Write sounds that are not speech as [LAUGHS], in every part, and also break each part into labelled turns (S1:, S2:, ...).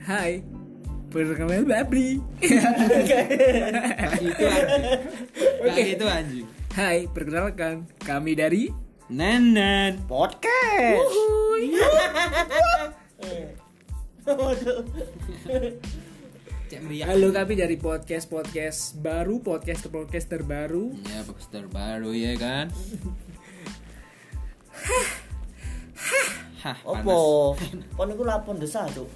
S1: Hai, perkenalkan Babri.
S2: Itu anjing. Kayak itu anjing.
S1: Hai, perkenalkan kami dari
S2: Nenen.
S3: Podcast.
S1: Uhuy.
S2: Cek meriah.
S1: Halo, kami dari podcast podcast baru, podcast ke podcast terbaru.
S2: Ya, poster baru ya kan. Hah, panas. Iya,
S3: Opo. Kon iku lapon desa, Cuk.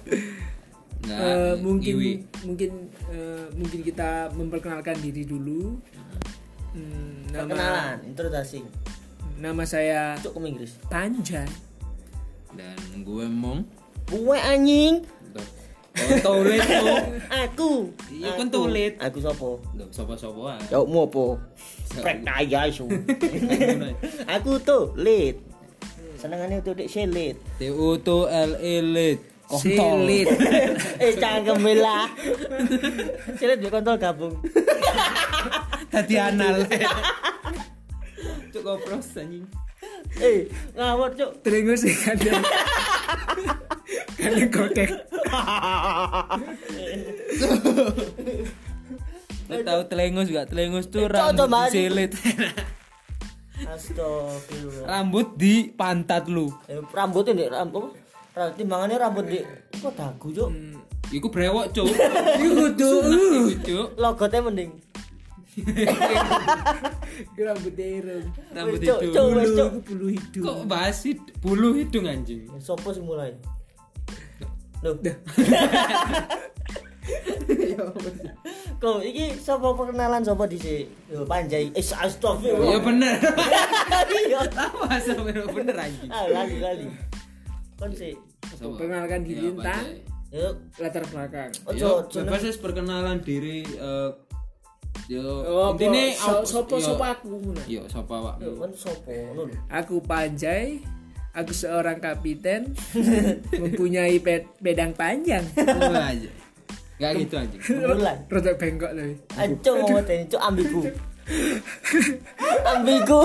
S2: Nggak,
S1: Eh, mungkin
S2: iwi.
S1: mungkin eh, mungkin kita memperkenalkan diri dulu. Hmm, nama
S3: Perkenalan, introduksi.
S1: nama saya
S3: Cuk kamu Inggris.
S1: Panjang.
S2: Dan gue mong.
S3: Kuwe anjing.
S2: Oh, [LAUGHS] tulit tuh.
S3: Aku.
S2: Iya,
S3: Aku.
S2: kan tulit.
S3: Aku sapa?
S2: Duh, sopo-sopoan.
S3: Jawabmu apa?
S2: Sopo.
S3: Prek kaya isu. nah, iya, [LAUGHS] Aku tulit. Senengane tuh dik silit.
S2: TU tuh L E, elit. [LAUGHS]
S1: Silit.
S3: [LAUGHS] eh cangkem [LAUGHS] lah. Silit di kontol gabung. [LAUGHS]
S2: Tadi anal. [LAUGHS] Cuk kopros anjing.
S3: Eh, ngawur, Cuk. [LAUGHS]
S1: Telingo sih kadang. kadang kotek.
S2: Lu tahu telengus gak? Telengus tuh
S3: Eh, cocok
S2: rambut
S3: banget.
S2: disilit.
S3: Astagfirullah.
S2: [LAUGHS] rambut di pantat lu.
S3: Eh, rambutnya dik rambut. Rambut timbangannya rambut dik. Kok dagu, Cuk?
S2: Hmm. Iku Ya, brewok, Cuk. [LAUGHS] uh.
S1: Iku kudu.
S2: Iku, Cuk.
S3: Logonya mending.
S1: Rambut derem.
S2: Rambut
S3: Cuk,
S2: hidung.
S3: Cuk, wes, Cuk.
S1: Bulu, bulu hidung.
S2: Kok bahas hid- bulu hidung anjing?
S3: Sopo sing mulai? Loh. [LAUGHS] Kok iki sapa perkenalan sapa dhisik? Yo panjai. Eh
S2: Ya
S3: astagfirullah.
S2: bener.
S3: [LAUGHS]
S2: [LAUGHS]
S3: Iya.
S2: Apa bener bener anjing?
S3: Ah lali lali. Kon sik.
S2: Sopo?
S1: Perkenalkan diri,
S2: Ya, apa
S1: Entah.
S2: aja.
S3: Yo
S1: Latar belakang.
S2: Yo,
S3: ojo
S2: bebas
S3: jeneng.
S2: wis perkenalan diri eh
S1: Oh,
S2: yo
S1: intine
S2: intine au-
S1: sopo
S2: yo-
S1: sopo aku. Nah.
S2: Yo sapa Wak?
S3: Yo kon sapa ngono lho.
S1: Aku Panjai. Aku seorang kapiten [LAUGHS] mempunyai pe- pedang panjang.
S2: Mulai aja. Gak gitu
S1: [LAUGHS]
S2: anjing.
S3: Mulai.
S1: Rotok bengkok tapi.
S3: Aco mau teni cuk ambigu. Ambigu.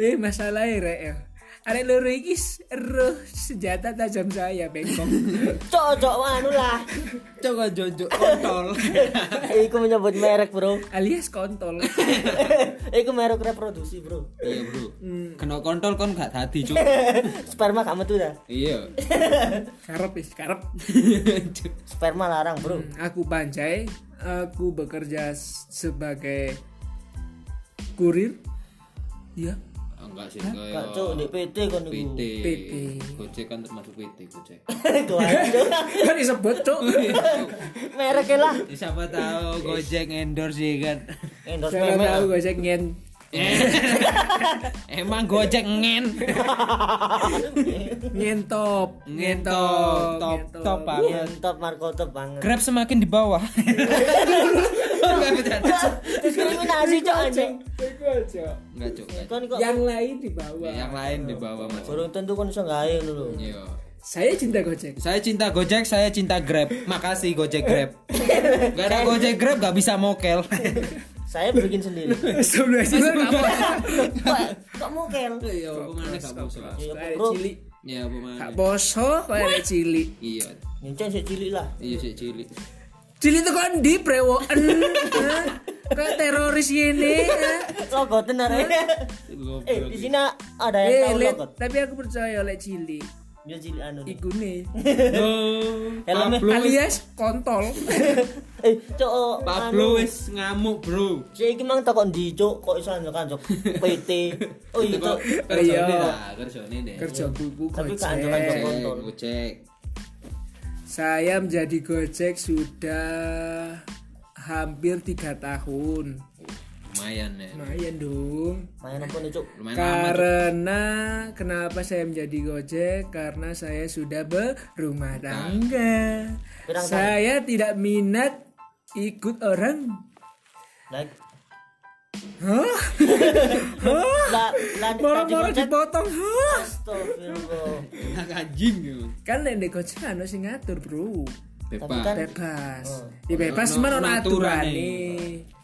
S1: Eh masalahnya rek. ya. Arek loro iki s- eruh senjata tajam saya bengkok. [LAUGHS]
S3: Cuk ojo anu lah.
S2: Coba jojo
S1: [LAUGHS]
S2: kontol.
S3: Iku menyebut merek, Bro. [LAUGHS]
S1: alias kontol.
S3: Iku merek reproduksi, Bro.
S2: Iya, Bro.
S1: Hmm.
S2: Kena kontol kon gak
S1: [LAUGHS]
S2: tadi, Cuk.
S3: Sperma gak metu dah.
S2: Iya. [LAUGHS]
S1: Karep wis karep.
S2: Cuk.
S3: Sperma larang, Bro.
S1: Aku Panjai. Aku bekerja s- sebagai kurir. Ya,
S2: Enggak Oh, sih kayak
S3: Gak cuk di PT kon iku. [LAUGHS]
S2: PT.
S1: PT.
S2: Gojek kan termasuk PT, Gojek. [LAUGHS]
S1: kan disebut cok
S3: Mereknya lah.
S2: Ya, Siapa tahu Gojek endorse ya kan.
S3: Endorse
S1: Siapa
S3: memek.
S1: tahu gojek ngen
S2: Emang Gojek ngen.
S1: ngentop
S2: Ngentop, top, top banget.
S3: Mantap Marco top banget. [LAUGHS]
S2: Grab semakin di bawah. [LAUGHS] Enggak bercanda.
S3: Diskriminasi cok anjing.
S1: Iku aja.
S2: Enggak, Cuk. enggak, Cuk.
S3: Kon kok
S1: yang lain di bawah
S2: Yang lain di bawah, Mas.
S3: burung tentu kon iso gawe ngono lho.
S2: Iya.
S1: saya cinta gojek
S2: Saya cinta Gojek, saya cinta Grab. Makasih Gojek Grab. Gak ada Gojek Grab gak bisa mokel. [LAUGHS]
S3: Saya bikin
S1: [LAUGHS]
S3: sendiri.
S1: sebelum sih
S3: Kok kok mokel?
S2: Iya, pemane gak poso.
S3: Ya
S1: kayak
S3: bro,
S1: cilik
S2: Iya, pemane.
S1: kak boso kayak cilik
S2: Iya.
S3: nyencen sik cilik lah.
S2: Iya sih cilik.
S1: cilik itu kan di prewoken eh. kayak teroris ini eh.
S3: Logo tenar. Eh, di sini ada
S1: Iya. eh
S3: yang tahu
S1: Lid,
S3: logo.
S1: tapi aku percaya oleh cilik
S3: Yo cilik anu. nih.
S1: iku nih
S3: Helmnya.
S2: Pablo wis-
S1: alias kontol
S3: [LAUGHS] Eh, cok
S2: Pablo
S1: eh.
S2: wis ngamuk, Bro.
S3: Cek iki mang takon ndi cok kok iso anu kan, anjok anjok
S1: [LAUGHS]
S3: PT. Oh iya cok.
S2: Kerjone lah, kerjone deh.
S1: Iya. kerja buku
S3: Tapi
S1: gojek
S3: keanjuran
S2: Cek,
S3: kontol.
S2: Gojek.
S1: Saya menjadi Gojek sudah hampir tiga tahun.
S2: Lumayan ya.
S1: Lumayan dong.
S3: Main apa nih cok?
S2: Lumayan lama. Cuk.
S1: Karena kenapa saya menjadi Gojek? Karena saya sudah berumah tangga.
S3: Berang tangga.
S1: Saya tidak minat ikut orang.
S3: Lah,
S1: Hah?
S3: lah, lah,
S1: Moro-moro
S3: dikocek.
S1: dipotong. Hah?
S3: Astagfirullah.
S2: Anak anjing. ya.
S1: Kan nek di Gojek anu sing ngatur, Bro.
S2: Bebas.
S3: kan-
S1: Bebas.
S3: Oh.
S1: Dibebas
S2: Ono-
S1: cuman
S2: ono
S1: ono
S2: aturane.
S1: aturane.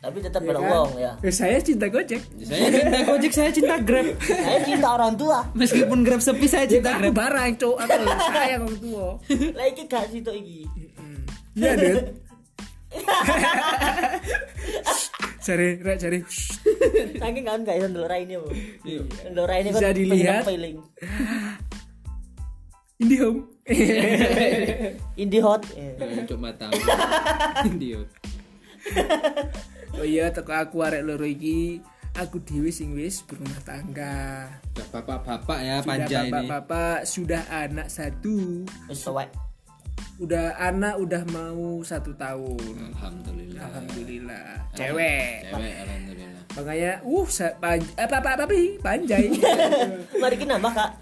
S3: tapi tetap
S1: Ya
S3: pada
S1: kan?
S3: uang ya
S1: Eh, Saya cinta Gojek.
S2: Saya cinta Gojek, saya cinta Grab.
S3: saya cinta orang tua
S2: Meskipun Grab sepi saya cinta
S1: Aku
S2: Grab.
S1: barang, cok. Aku saya wong tua.
S3: lah iki gak situ iki
S1: Iya, [LAUGHS] Dut. Cari, rek cari.
S3: saking kan gak iso ndelok raine Bu. Ndelok raine
S1: Iya. Bisa dilihat.
S3: feeling
S1: Indihome.
S3: indie hot Iya.
S2: Cuma tahu. Dia.
S1: oh iya, teko aku arek loro iki. Aku dewi sing wis berumah tangga.
S2: Udah Bapak-bapak ya
S1: Sudah
S2: panja ini.
S1: bapak-bapak, sudah anak satu.
S3: wis tuwek
S1: Udah anak udah mau satu tahun.
S2: Alhamdulillah.
S1: Alhamdulillah. Cewek.
S2: Cewek alhamdulillah.
S1: Makanya, uh, sa- pan- apa apa apa pi? panjai.
S3: mari kita nambah kak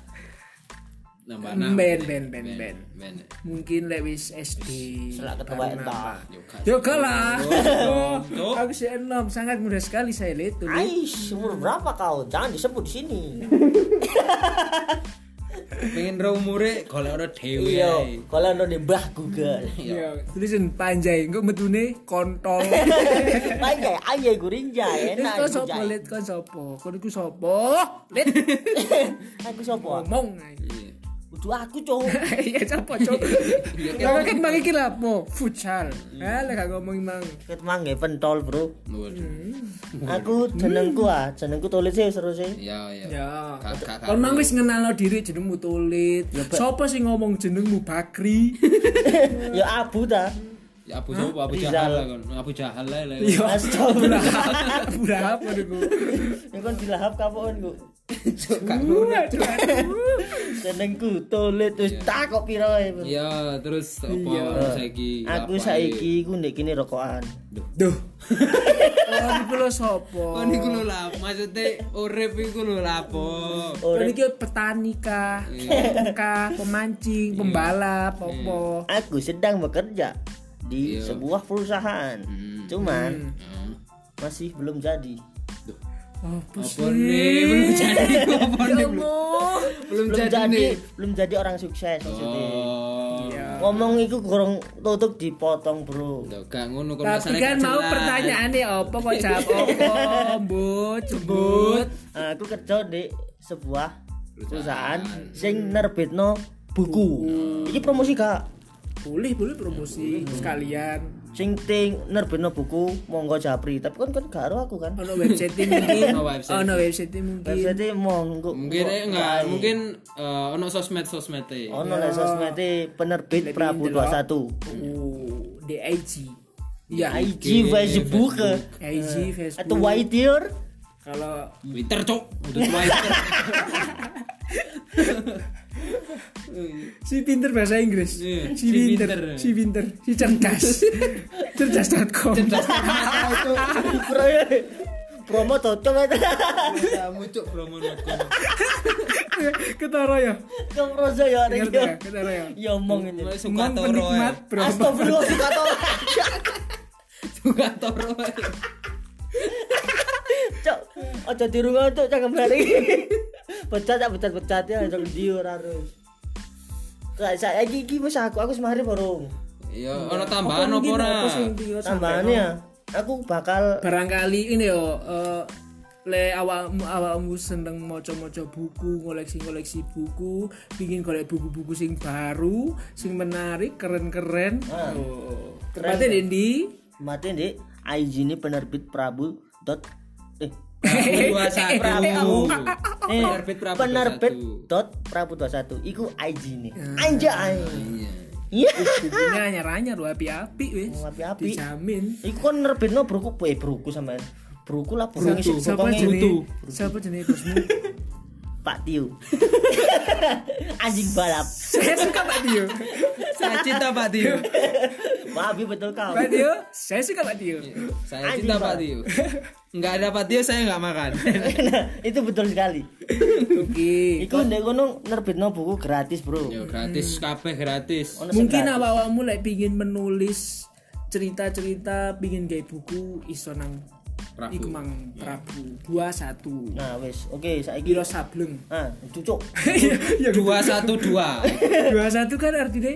S2: Nambah nama.
S1: ben, ben, ben, ben.
S2: Ben.
S1: Mungkin lewis SD.
S3: Selak ketua
S1: baru nambah.
S3: entah
S2: Yoga.
S1: Yo kalah.
S2: Oh, tuh.
S1: Aku si Enom sangat muda sekali saya lihat tuh.
S3: Aish, umur berapa kau? Jangan disebut di sini.
S2: Pengen ro umure golek ora dhewe. Iya. ae.
S3: Iya, kalau anda di bah Google. [LAUGHS]
S1: Yo, Iya. tulisin panjai, gue metune
S2: [LAUGHS]
S1: kontol.
S3: Anjay, anjay gurinja
S1: Terus
S3: enak.
S1: kau
S3: Rinjai.
S1: sopo lihat kau sopo, kau niku sopo, lihat
S3: Aku sopo?
S1: ngomong.
S2: Iya.
S3: Udah aku cowok.
S1: [LAUGHS] Iya sopo cok.
S2: Iya,
S1: Kamu kan mangi kira apa? Futsal. Eh, lek gak ngomong mang.
S3: Ketmang nggih pentol, Bro.
S2: Waduh.
S3: Aku jenengku ah, jenengku tulis sih seru sih.
S2: Ya ya.
S1: Ya.
S2: Kak- kak- kak.
S1: Kon mang wis ngenalno diri jenengmu tulit.
S2: Ya,
S1: Sopo sing ngomong jenengmu
S2: [LAUGHS]
S1: Bakri?
S3: Ya abu ta.
S2: Ya, Abu Jawa, Abu
S3: Rizal.
S2: Jahal lah kon. Abu Jahal lah. lah.
S3: Iya. Ya
S1: Yo.
S2: [LAUGHS] Ya
S3: Astagfirullah.
S1: Udah apa niku?
S3: Ini kan dilahap kapan ku?
S2: Cuk, kak.
S1: Waduh. aduh.
S3: Jenengku tulis terus tak kok piro ae, Bro.
S2: Ya, terus apa saiki?
S3: Eh,
S2: Apa ae?
S3: Aku saiki ku ndek kene rokokan.
S1: Duh. Oh, niku lho sopo?
S2: Oh niku lho lah, maksudnya urip iku lho lah apa?
S1: Oh, niki petani kah? Kah, pemancing, pembalap, opo?
S3: Aku sedang bekerja di
S2: Iya.
S3: sebuah perusahaan.
S2: Hmm.
S3: Cuman
S2: Hmm.
S3: masih belum jadi.
S2: Duh,
S1: Apa
S2: Apa nih? Belum
S1: sih?
S2: jadi apa
S1: Ya
S2: nih?
S1: Allah.
S2: Belum
S3: Belum
S2: jadi
S3: jadi,
S2: nih.
S3: belum jadi orang sukses maksudnya.
S2: Oh.
S3: Ngomong iku gorong tutup dipotong, Bro.
S2: Loh, gak ngono kok
S1: Tapi
S2: masalahnya
S1: kan mau
S2: kecelan.
S1: pertanyaannya opo kok jawab opo? Mbut, jembut.
S3: Ah, aku kerja di sebuah
S2: Perusahaan. Hmm.
S3: perusahaan sing nerbitno buku. Iki promosi gak?
S1: Boleh, boleh promosi sekalian.
S3: Sing ting nerbitno buku monggo japri. Tapi kan kan gak karo aku kan.
S1: Ono website mungkin.
S2: Ono website.
S1: Ono website mungkin.
S3: Website monggo.
S2: Mungkin eh enggak, mungkin eh, ono sosmed-sosmed e.
S3: ono lah sosmede penerbit Prabu 21.
S1: Oh, di IG.
S2: Ya,
S1: Iya,
S3: IG Facebook.
S1: IG,
S3: Eh. Atau
S1: Facebook.
S3: Whiteer
S1: Kalau
S2: Twitter, Cuk. Udah Twitter.
S1: si pinter bahasa Inggris.
S2: Iya,
S1: si,
S2: si
S1: pinter,
S2: pinter.
S1: si pinter, si cerdas. cerdas.com.
S3: Pro- promo cocok itu
S2: Kamu Cuk promo
S1: Ketara ya.
S3: yang prosa ya
S1: Ngerti
S3: Rek.
S1: ya? Ketara ya.
S3: ya omong ini
S2: Suka
S1: Emang
S2: toro. eh.
S1: penikmat, bro.
S3: Astagfirullah suka tau
S2: Suka toro. eh.
S3: cok ojo tiru tuh cak kembali [LAUGHS] pecat cak pecat pecat ya cok di ora harus Lah, saya gigi mas aku aku semari baru
S2: Ya, ono tambahan apa ora?
S1: Apa sih inti yo, sampai-
S3: tambahannya aku bakal
S1: barangkali ini yo eh, le awakmu awakmu seneng maca-maca buku ngoleksi-ngoleksi buku pingin golek buku-buku sing baru sing menarik keren-keren
S3: Ah.
S1: oh
S3: Keren.
S1: tempatnya Dendi
S3: mati di IG ini penerbit Prabu dot eh
S2: Prabu 21.
S3: eh,
S2: Penerbit Prabu
S3: penerbit
S2: 21.
S3: dot Prabu 21 iku IG ini
S1: Ya,
S3: anjay iya
S1: bukunya nyaranya lu api-api wis
S3: Oh, Api-api.
S1: dijamin
S3: iku kan nerbitno bruku eh bruku sama bruku lah burung isi
S1: siapa
S3: bokongnya.
S1: jenis siapa jenis bosmu [LAUGHS]
S3: Pak Tio [LAUGHS] anjing balap
S1: saya suka Pak Dio
S2: Saya cinta Pak Tio.
S3: maaf ya betul kau
S1: Pak Dio saya suka Pak Dio
S3: Iya.
S2: Saya
S3: Anjing,
S2: cinta
S3: Pak.
S2: Pak Tio. Enggak ada Pak Tio saya enggak makan.
S3: Nah, itu betul sekali
S1: oke
S3: iku ndek kono nerbitno buku gratis bro
S2: Yo gratis kabeh gratis.
S3: Ono sing
S1: mungkin
S3: gratis.
S1: awak-awakmu lek pingin menulis cerita-cerita pingin gawe buku iso nang
S2: Prabu.
S1: iku mang Prabu 21
S3: nah wes oke saiki Nah,
S1: kira [LAUGHS] sableng
S3: ah cucuk
S1: ya
S2: 212.
S1: 21 kan artinya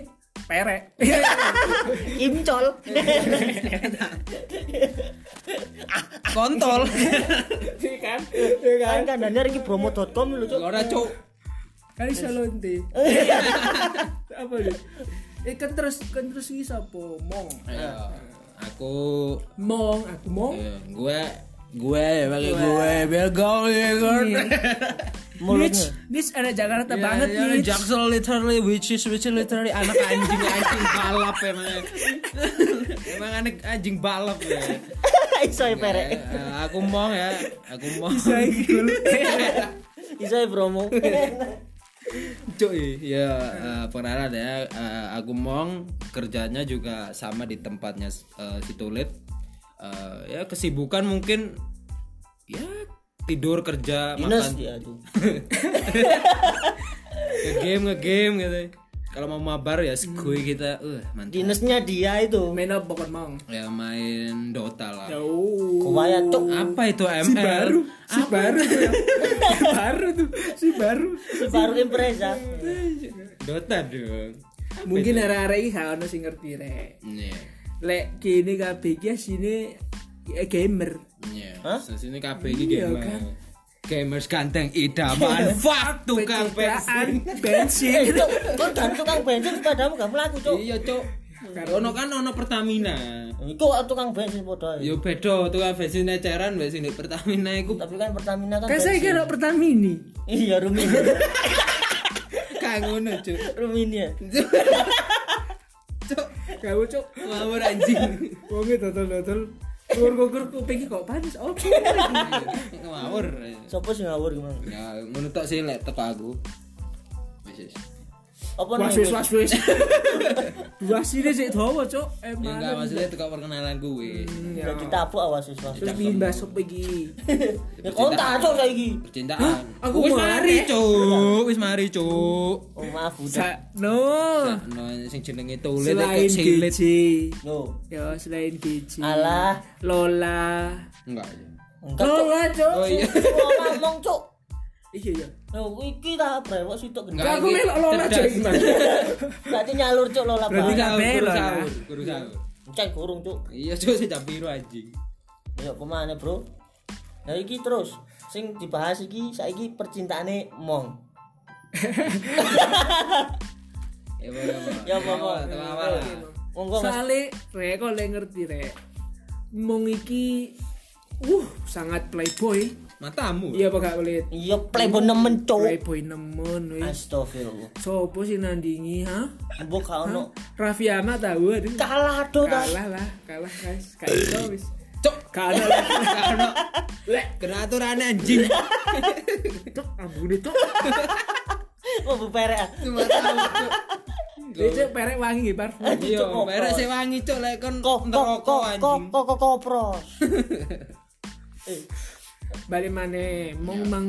S1: perek Iya
S3: Imcol.
S2: kontol
S1: Iya kan
S3: Kan kandangnya iki bromo.com lho, Cuk.
S2: ora cuk
S1: kan iso lonte apa lu eh kan terus kan terus iki sapa mong
S2: Ayo, aku
S1: mong aku [LAUGHS] mong
S2: eh, gue gue ya, bagi gue belgong ya kan
S1: Mitch Mitch anak Iya, Jakarta banget
S2: Ya, ya,
S1: Mitch
S2: Jaksel literally which is which is literally anak anjing anjing balap emang emang anak anjing balap ya
S3: [LAUGHS] Iso ya
S2: Eh,
S3: perek.
S2: eh, aku mong ya aku mong
S1: saya gul
S2: gitu.
S3: Iso ya bromo.
S2: cuy ya eh, perkenalan ya eh, aku mong kerjanya juga sama di tempatnya eh, si Tulit Eh, ya kesibukan mungkin ya tidur kerja
S3: Dinas
S2: makan
S3: dia tuh.
S2: nge game nge game gitu kalau mau mabar ya sekui kita uh mantap
S3: Dinasnya dia itu.
S1: main apa kan [LAUGHS] mong
S2: ya main Dota lah
S1: oh
S3: Kuwaya ya, cuk.
S2: apa itu ML
S1: si baru si baru tuh yang- si baru tuh si baru
S3: Baru impresa.
S1: Iya.
S2: Dota dong
S1: mungkin arah-arah ini gak ada sing ngerti rek
S2: Iya
S1: lek kini kabeh iki sini gamer
S2: Iya Sini KB ini
S1: Iya,
S2: gamer
S1: kan?
S2: Gamers ganteng idaman Fuck tukang bensin
S1: Sepedaan, bensin
S3: Cuk, kon kan [LAUGHS] tukang bensin sepadamu gak mlaku, Cuk.
S2: Iya cok Ono kan ono Pertamina
S3: Iku kok tukang bensin padha. ya? ae.
S2: Yo bedo tukang bensin eceran Mbak sini Pertamina iku
S3: Tapi kan Pertamina kan.
S1: kan saya
S3: bensin.
S1: kira Pertamini
S3: Iya, Rumini.
S2: Kayak ngono cok
S3: Rumini. ya.
S2: Cok
S1: kamu cok
S2: Ngawur anjing
S1: wonge dodol-dodol gugur-gugur kuping kok panas oh, opo
S2: Ngawur
S3: Sopo sing ngawur gimana?
S2: Ya ngono tok sih lek teko aku Wis wis.
S3: Apa
S1: was wis was wis dua sini sik dawa Eh, cok
S2: Ya enggak
S1: emang
S2: maksudnya teko perkenalan gue
S3: Udah ditabuk awas wis wis.
S1: terus bikin bakso iki
S3: Ya kon tak cuk saiki.
S2: Percintaan.
S1: Aku
S2: wis
S1: mau
S2: mari,
S1: arek.
S2: Cuk. Wis mari, Cuk.
S3: Oh maaf udah.
S1: sakno
S2: Ono sing jenenge tulit
S1: selain
S2: cilik.
S1: GJ
S3: Yo.
S1: ya selain GJ
S3: Alah,
S1: Lola
S2: Enggak.
S3: enggak cuk.
S1: Lola cok
S2: Oh iya.
S3: Wong ngomong cuk.
S1: iya iya
S3: Loh, iki tak brewok sitok gendeng.
S1: aku
S2: iki
S1: melok Lola cok
S2: cerdas.
S3: [LAUGHS]
S1: gimana
S3: Berarti nyalur cuk lola
S1: Berarti
S3: bae.
S1: gak-
S2: Sahur,
S1: Kabeh
S2: guru
S1: lah.
S2: sahur, guru sahur.
S3: Cek kurung cuk.
S2: Iya, Cuk, sing jam biru anjing.
S3: Ayo kemana bro? Nah iki terus sing dibahas iki saiki percintaane mong.
S2: Ya apa-apa.
S3: Ya, apa-apa.
S2: Apa-apa lah.
S3: Monggo Mas.
S1: Soale rek kok le ngerti rek. Mong iki uh sangat playboy.
S2: Matamu.
S1: Iya apa gak boleh
S3: Iya playboy nemen cuk.
S1: playboy nemen wis.
S3: Astagfirullah.
S1: Sopo sih nandingi ha?
S3: Mbok gak ono
S1: Raffi Ahmad tahu aduh.
S3: kalah do ta.
S1: Kalah lah, kalah guys. Gak iso wis.
S2: Cuk.
S1: Kalah lah.
S2: [LAUGHS] Gak ono.
S1: Lek
S2: Kena aturan anjing.
S1: cok ambune cok.
S3: Oh beperek. ah.
S2: Matamu, Cuk.
S1: Lek perek wangi parfum.
S2: Iya,
S3: Cuk,
S2: merek
S3: apa?
S2: Oh, sing wangi, Cuk, lek kon
S3: Kok kok
S2: neraka
S3: kok
S2: anjing.
S3: kok kok kok kopros. Eh,
S1: Balik maneh mong mang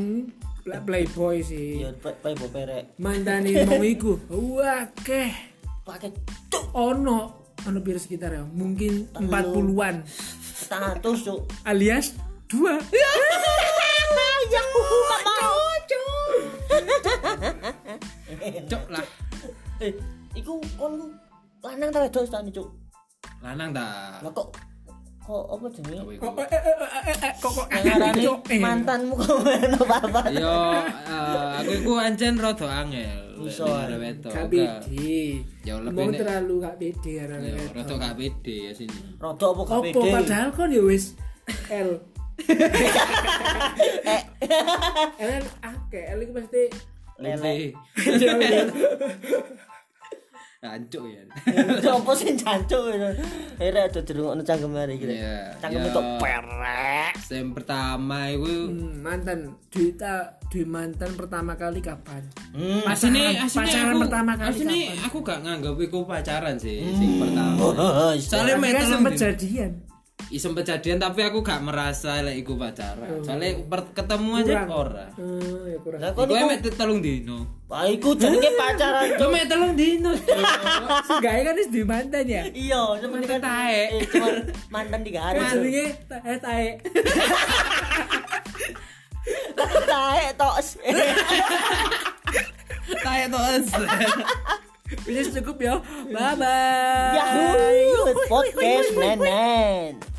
S1: playboy sih.
S3: iya pe- playboy perek.
S1: Mantane mong iku. Wah, keh.
S3: Pakai
S1: ono ono pira sekitar ya mungkin 40-an
S3: status cuk.
S1: alias dua
S3: Ya aku gak mau.
S2: Cuk lah.
S3: Eh, iku kon lanang ta wedok ta cuk?
S2: Lanang ta.
S3: Lah kok kok apa jenenge?
S1: kok eh, eh, eh, eh, eh, kok kok
S3: Ngarani
S1: Cok, eh.
S3: mantanmu kok [LAUGHS] ngono apa?
S2: Yo, eh, aku iku ancen rada angel.
S3: Iso,
S2: Dengar wedok.
S1: gak
S2: Gak-
S1: pede
S2: Jauh lebih
S1: mau
S2: nek-
S1: terlalu gak pede karena
S2: Yo, rada gak pede ya sini.
S3: Rodo apa gak
S1: opo
S3: pede? [LAUGHS]
S1: padahal kan ya wis L L kan akeh L itu pasti
S2: Lele.
S3: [LAUGHS]
S1: Iya, iya.
S2: Ancuk ya.
S3: Sopo sing jancuk ngono. Ere ada dirungokno cangkem arek iki.
S2: Iya,
S3: Cangkem
S2: iya.
S3: itu perek.
S2: Sem pertama iku
S1: Hmm, mantan duita duit mantan pertama kali kapan
S3: Hmm.
S1: Pacaran-
S2: asine asine
S1: pacaran
S2: aku-
S1: pertama kali
S2: asine
S1: kapan?
S2: aku gak nganggep iku pacaran sih sing pertama.
S1: Tapi
S2: Soalnya
S1: kan
S2: metal
S1: sempet jadian
S2: Ih, sempet jadian tapi aku gak merasa lek iku pacaran. Soalnya per- ketemu aja
S1: Hmm. Kurang.
S2: ora.
S1: Eh, ya kurang
S3: Lah kok
S2: Iku
S3: niku
S2: mek telung dino.
S3: Wah, iku
S1: [LAUGHS]
S3: jenenge pacaran.
S2: Yo mek telung dino.
S1: Seenggaknya kan wis duwe mantan ya Kan
S3: Iya, sebenarnya kan
S2: tae.
S3: eh, cuman mantan tiga hari. Cuk.
S1: Jenenge eh tae. [LAUGHS]
S3: Tae tos.
S2: Kayak to
S4: Ini cukup ya. Bye bye.
S1: Yahoo podcast nenen.